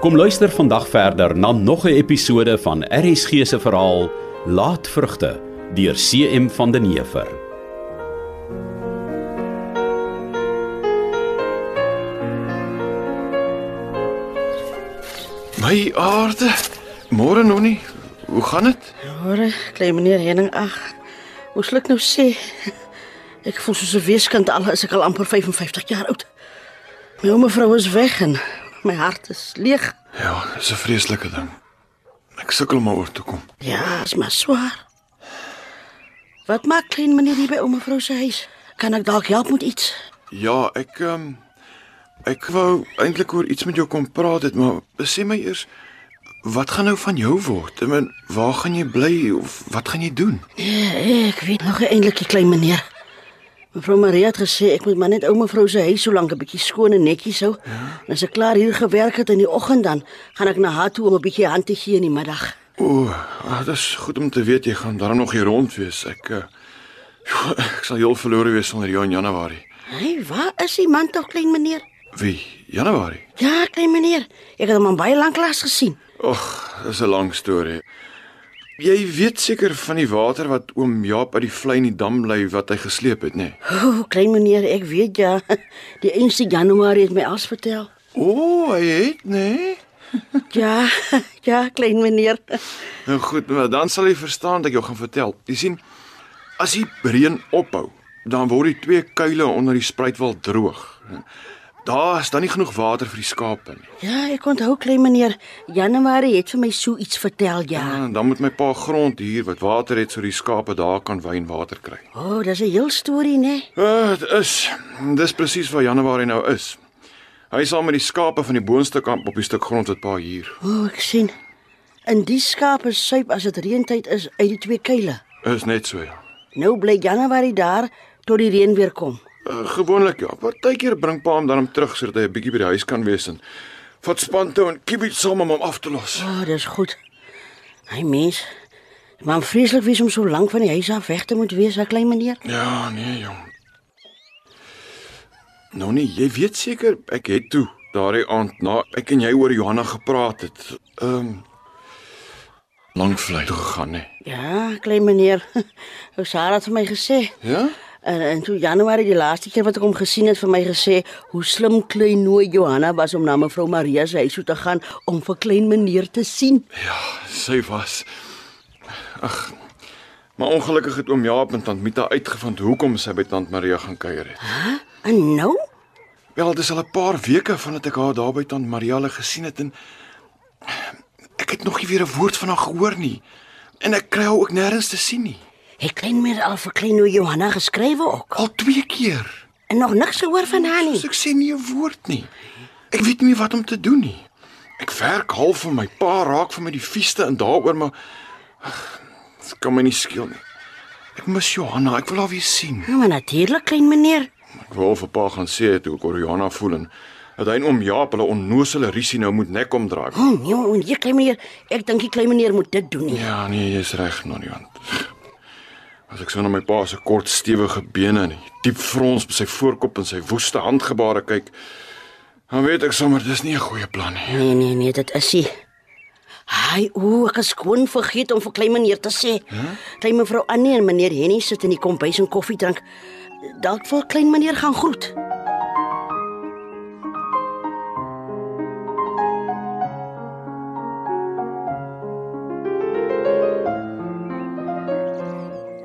Kom luister vandag verder na nog 'n episode van RSG se verhaal Laatvrugte deur CM van den Heever. My aarde. Môre nog nie. Hoe gaan dit? Hoor, klein meneer Henning, ag. Hoe sal ek nou sê? Ek voel soos 'n weeskind al is ek al amper 55 jaar oud. My ouma vrou is weg en my hart is leeg. Ja, dis 'n vreeslike ding. Ek sukkel om oor te kom. Ja, is maar swaar. Wat maak klein meneer hier by ouma vrou se huis? Kan ek dalk help met iets? Ja, ek ehm um, ek wou eintlik oor iets met jou kom praat het, maar sê my eers wat gaan nou van jou word? Ek meen, waar gaan jy bly of wat gaan jy doen? Nee, ek weet nog nie eintlik, die klein meneer. Mevrou Maria het gesê ek moet maar net ouma vrou se huis so lank 'n bietjie skoon en netjies hou. En as ek klaar hier gewerk het in die oggend dan gaan ek na haar toe om 'n bietjie hand te gee in die middag. O, ah, dit is goed om te weet jy gaan daarom nog hier rond wees. Ek uh, joh, ek sal heel verlore wees sonder jou in Januarie. Hey, waar is die man tog klein meneer? Wie? Januarie. Ja, klein meneer. Ek het hom al baie lank lank gesien. Och, dis 'n lang storie. Jy weet seker van die water wat oom Jaap uit die vlei in die dam lê wat hy gesleep het, nê? Nee? O, oh, klein meneer, ek weet ja. Die 1ste Januarie het my as vertel. O, oh, hy het, nê? Nee? Ja, ja, klein meneer. Nou goed, maar dan sal jy verstaan dat ek jou gaan vertel. Jy sien, as die reën ophou, dan word die twee kuile onder die spruitwal droog. Daar is dan nie genoeg water vir die skape nie. Ja, ek onthou klein meneer, Januarie het vir my so iets vertel, ja. En Ah, dan moet my pa grond huur wat water het sodat die skape daar kan wyn water kry. O, oh, dis 'n heel storie, né? Uh, dit is dis presies waar Januarie nou is. Hy sal met die skape van die boonste kamp op die stuk grond wat pa hier. O, oh, ek sien. In die skape suip as dit reëntyd is uit die twee kuile. Is net so ja. Nou bly Januarie daar tot die reën weer kom. Uh, gewoonlik ja. Partykeer bring pa hom dan om terug sodat hy 'n bietjie by die huis kan wees en vat spantou en kibiet saam om hom af te los. O, oh, dis goed. Hy mens. Maar vreeslik wees om so lank van die huis af weg te moet wees, 'n klein meneer. Ja, nee jong. Nou nee, jy weet seker ek het toe daardie aand na ek en jy oor Johanna gepraat het. Ehm um, lank vlei toe gegaan nê. Ja, klein meneer. Ou Sarah het vir my gesê. Ja? En en toe Januarie die laaste keer wat ek hom gesien het vir my gesê hoe slim klein nooi Johanna was om na mevrou Maria se huis toe te gaan om vir klein meneer te sien. Ja, sy was. Ag. Maar ongelukkig het oom Jaap en tant Mita uitgevind hoekom sy by tant Maria gaan kuier het. Hæ? En nou? Wel, dis al 'n paar weke vandat ek haar daar by tant Maria hulle gesien het en ek het nog nie weer 'n woord van haar gehoor nie. En ek kry haar ook nêrens te sien nie. Het klein meneer al vir klein nooi Johanna geskrywe ook Al twee keer. en nog niks gehoor van haar nie. So ek sê nie 'n woord nie. Ek weet nie wat om te doen nie. Ek werk half vir my pa raak vir my die vieste en daaroor maar ag, dit kan my nie skeel nie. Ek mis Johanna, ek wil haar weer sien. Ja, maar natuurlik klein meneer. Ek wou al vir pa gaan sê het hoe ek oor Johanna voel en dat hy en oom Jaap hulle onnoosele risie nou moet nek omdraai. Hm, jong, en hier klein meneer, ek dink die klein meneer moet dit doen nie. Ja, nee, jy's reg, Nonjant. As ek so na my pa se kort stewige bene en die diep frons op sy voorkop en sy woeste handgebare kyk, dan weet ek sommer dis nie 'n goeie plan nie. Nee, nee, nee, dit is hy. Hy, o, ek het skoon vergeet om vir klein meneer te sê. Huh? Klein mevrou Annie en meneer Henny sit in die kombuis en koffie drink. Dalk wil klein meneer gaan groet.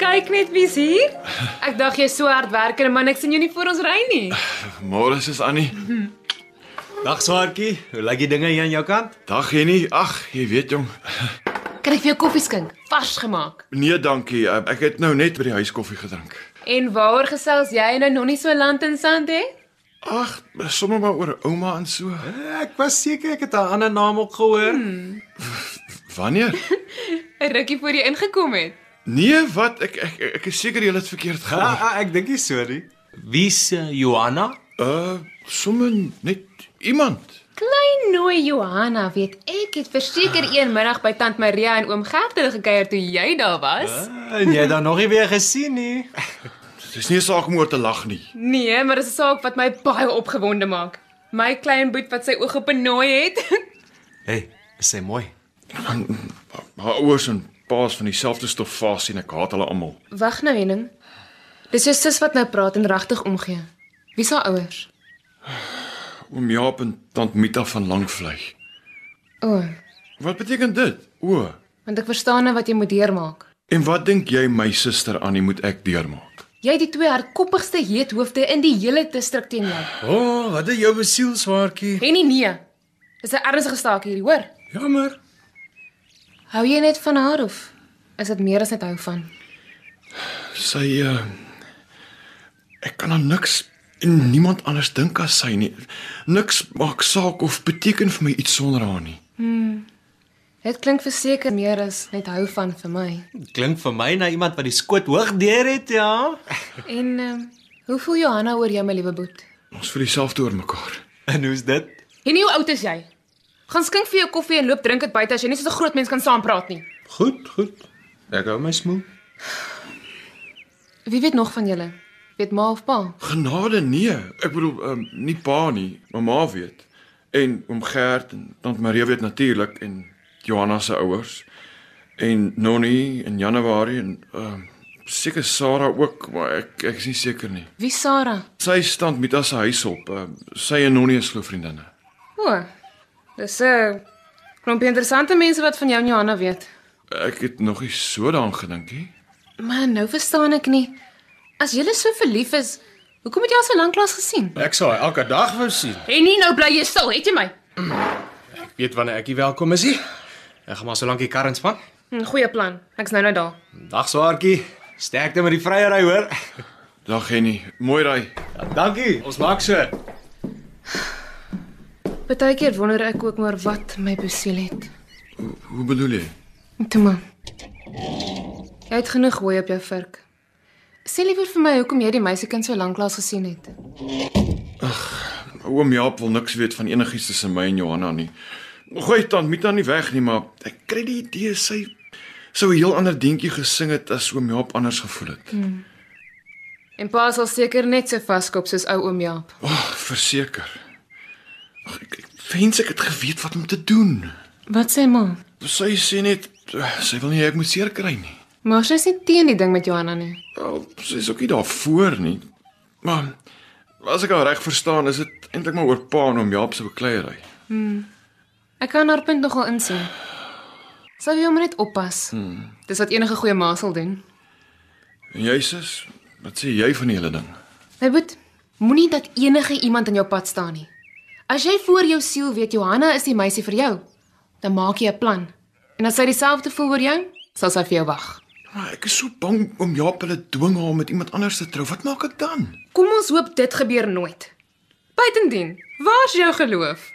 Kyk net wie's hier. Ek dag jy's so hardwerkende man, ek sien jou nie voor ons ry nie. Môre is Annie. Dag Swartjie, hoe lyk die dinge hier aan jou kant? Dag Jenny. Ag, jy weet jong. Kan ek vir jou koffie skink, vars gemaak? Nee, dankie. Ek het nou net by die huis koffie gedrink. En waaroor gesels jy nou nog nie so land en sand hè? Ag, sommer maar oor ouma en so. Ek was seker ek het 'n ander naam ook gehoor. Hmm. Wanneer? 'n Rukkie voor jy ingekom het. Nee, wat? Ek ek ek is seker jy het dit verkeerd Ah, gehad. ah, ek dink nie so nie. Wie's uh, eh, Johanna? Uh, sommer Eh, net iemand. Klein nooi Johanna, weet ek het verseker een middag by tant Maria en oom Gertrude gekuier toe jy daar was. Eh, En jy het dan nog nie weer gesien nie. Dis nie 'n saak om oor te lag nie. Nee, maar dis 'n saak wat my baie opgewonde maak. My klein boet wat sy oog op 'n nooi het. Hey, is sy mooi? Haar ouers en paas van dieselfde stof fasie en ek haat hulle almal. Wag nou, Henning. Dis jou sis wat nou praat en regtig omgee. Wie se ouers? Oom Jaap en tant Mita van Langvlei. O, Wat beteken dit? O, want ek verstaan nou wat jy moet deurmaak. en wat dink jy my suster Annie moet ek deurmaak? Jy het die twee hardkoppigste heethoofde in die hele distrik teen jou. O, oh, wat het jou besiel, swaartjie? Henny nee. Dis 'n ernstige staak hierdie, hoor? Jammer. Hou jy net van haar of is dit meer as net hou van? Sy uh ek kan aan niks en niemand anders dink as sy nie. Niks maak saak of beteken vir my iets sonder haar nie. Dit klink verseker meer as net hou van vir my. Klink vir my na iemand wat die skoot hoog deur het, ja. En ehm hoe voel Johanna oor jou my liewe boet? Ons voel dieselfde oor mekaar. En hoe's dit? Henny, hoe oud is jy? Gaan skink vir jou koffie en loop drink dit buite as jy nie so 'n groot mens kan saampraat nie. Goed, goed. Ek hou my smoel. Wie weet nog van julle? Weet ma of pa? Genade nee. Ek bedoel um, nie pa nie, maar ma weet. En oom Gert en tant Marie weet natuurlik en Johanna se ouers en Nonnie en Januarie en um, seker Sara ook, maar ek ek is nie seker nie. Wie Sarah? Sy staan met as huis op. Um, sy en Nonnie is glo vriendinne. O. Dis 'n uh, klompie interessante mense wat van jou en Johanna weet. Ek het nog nie so daaraan gedink nie. Maar nou verstaan ek nie. As jy so verlief is, hoekom het jy al so lank lank gesien? Ek sal haar elke dag wou sien. En nie nou bly jy stil, het jy my? Ek weet wanneer ek hier welkom is. Hier. Ek gaan maar so lank die kar inspan. Hm, Goeie plan. Ek's nou nou daar. Dag, swaartjie. Sterkte met die vryery, hoor. Dag Henny, mooi ry. Ja, dankie. Ons maak so. Partykeer wonder ek ook maar wat my besiel het. Hoe bedoel jy? Toe maar. Jy het genoeg hooi op jou vurk. Sê liewer vir my hoekom jy die meisiekind so lank lank gesien het. Oom Jaap wil niks weet van enigiets tussen my en Johanna nie. Gooi tant Mita nie weg nie, maar ek kry die idee sy sou 'n heel ander deuntjie gesing het as oom Jaap anders gevoel het. O, hmm. En pa sal seker net so vaskop soos ou oom Jaap. oh, verseker. Ag, ek, ek wens ek het geweet wat om te doen. Wat sê ma? Sy sê net eh, sy wil nie ek moet seer kry nie. Maar sy's nie teen die ding met Johanna nie. Wel, sy is ook nie daarvoor nie. Maar as ek haar reg verstaan, is dit eintlik maar oor pa en oom Jaap se bekleierery. Ek kan haar punt nogal insien. Sal jy hom net oppas. Hmm. Dis wat enige goeie ma sal doen. En jy sis, wat sê jy van die hele ding? My boet, moenie dat enige iemand in jou pad staan nie. As jy voor jou siel weet Johanna is die meisie vir jou, dan maak jy 'n plan. En as sy dieselfde voel oor jou, sal sy vir jou wag. Maar ek is so bang om Jaap hulle dwing om met iemand anders te trou. Wat maak ek dan? Kom ons hoop dit gebeur nooit. Buitendien, waar's jou geloof?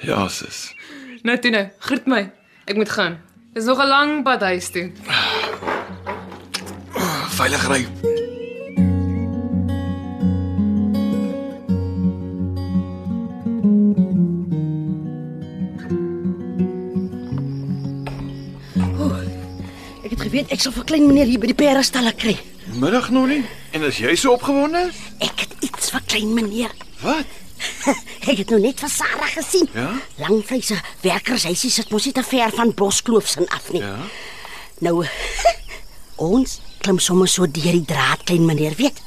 Ja, sis. Nou toe nou, groet my. Ek moet gaan. Dis nog 'n lang pad huis toe. Veilig ry. Ek het geweet ek sal vir klein meneer hier by die perestalle kry. Middag nog nie. En as jy so opgewonde is? Ek het iets vir klein meneer. Wat? Ek het nou net vir Sarah gesien. Ja? Langvleise werkershuisie sit mos nie te ver van Boskloofsin af nie. Ja. Nou ons klim sommer so deur die draad klein meneer weet.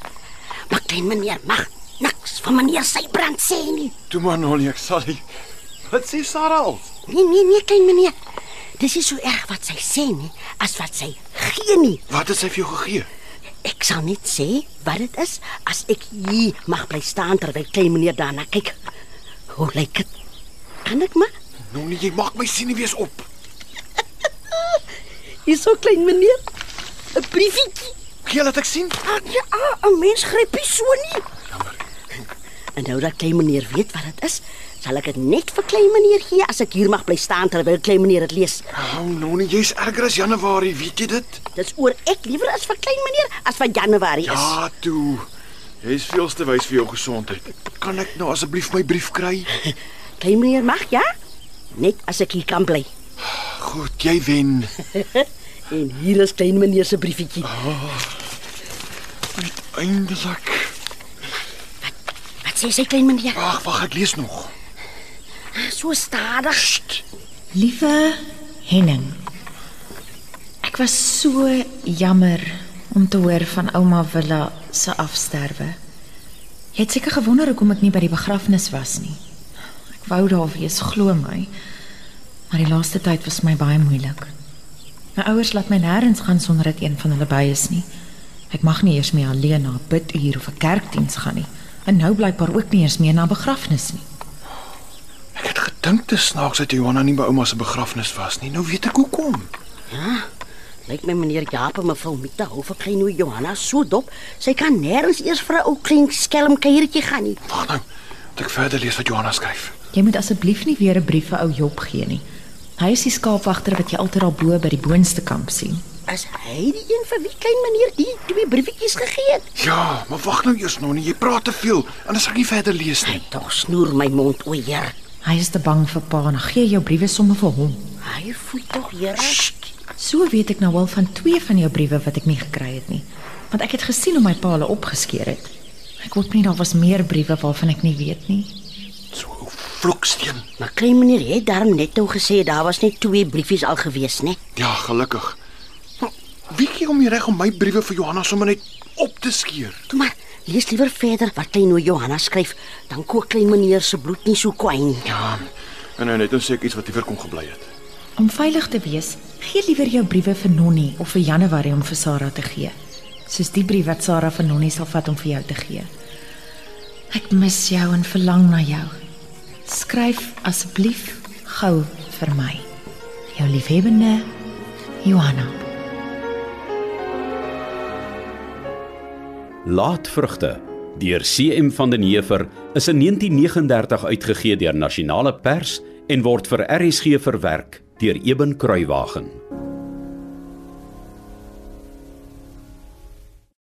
Maar klein meneer mag niks van meneer Sybrand sê nie. Toe maar nog nie, ek sal nie. Wat sê Sarah al? Nee nee nee klein meneer. Dis is so erg wat sy sê nie as wat sy gee nie. Wat het sy vir jou gegee? Ek sal net sê wat dit is as ek hier mag bly staan terwyl klein meneer daarna kyk. Hoe lyk dit? Kan ek maar? Nog nie, jy maak my sien nie wees op. Hier's so klein meneer. 'n Briefietjie. Gee laat ek sien. Ag ja, 'n mens gryp nie so nie. En nou dat klein meneer weet wat dit is, sal ek dit net vir klein meneer gee as ek hier mag bly staan terwyl klein meneer dit lees. Hou oh, nog nie, jy's erger as Januarie, weet jy dit? Ja. Dis oor ek liewer as vir klein meneer as vir Januarie is. toe. Jy is veel te wys vir jou gesondheid. Kan ek nou asseblief my brief kry? Klein meneer mag ja? Net as ek hier kan bly. Goed, jy wen. En hier is klein meneer se briefietjie. Eindelik. Wat sê sy klein meneer? Wag, wag, ek lees nog. So stadig. Sst. Liewe Henning. Ek was so jammer om te hoor van ouma Willa se afsterwe. Jy het seker gewonder hoekom ek nie by die begrafnis was nie. Ek wou daar wees, glo my. Maar die laaste tyd was my baie moeilik. My ouers laat my nêrens gaan sonder dat een van hulle by is nie. Ek mag nie eers meer alleen na 'n biduur of 'n kerkdiens gaan nie. En nou blykbaar ook nie eers meer na 'n begrafnis nie. Ek het gedink dit snaaks dat Johanna nie by ouma se begrafnis was nie. Nou weet ek hoekom. Lyk my meneer Jaap en mevrou Mita hou vir klein ou Johanna so dop. Sy kan nêrens eers vir 'n ou klein skelm kuiertjie gaan nie. Wag nou. Dat ek verder lees wat Johanna skryf. Jy moet asseblief nie weer 'n brief vir ou Job gee nie. Hy is die skaapwagter wat jy altyd daar bo by die boonste kamp sien. Is hy die een vir wie klein meneer die twee briefietjies gegee het? Ja, maar wag nou eers nog nie. Jy praat te veel. Anders gaan ek nie verder lees nie. Tog snoer my mond o, Heer. Hy is te bang vir pa en dan gee jou briewe sommer vir hom. Hy voel tog, Here. So weet ek nou al van twee van jou briewe wat ek nie gekry het nie, want ek het gesien hoe my pa hulle opgeskeer het. Ek hoop nie daar was meer briewe waarvan ek nie weet nie. So ou vloeksteen. Maar klein meneer het daarom net nou gesê daar was net twee briefies al gewees, né? Ja, gelukkig. Maar Wie gee hom die reg om my briewe vir Johanna sommer net op te skeer? Toe maar, lees liewer verder wat klein nou Johanna skryf, dan kook klein meneer se bloed nie so kwyn. Ja. En nou net ons sê ek iets wat liewer kon gebly het. Om veilig te wees, gee liewer jou briewe vir Nonnie of vir Januarie om vir Sarah te gee, soos die brief wat Sarah vir Nonnie sal vat om vir jou te gee. Ek mis jou en verlang na jou. Skryf asseblief gou vir my. Jou liefhebbende Johanna. Laatvrugte deur CM van den Heever is in 1939 uitgegee deur Nasionale Pers en word vir RSG verwerk deur Eben Kruiwagen.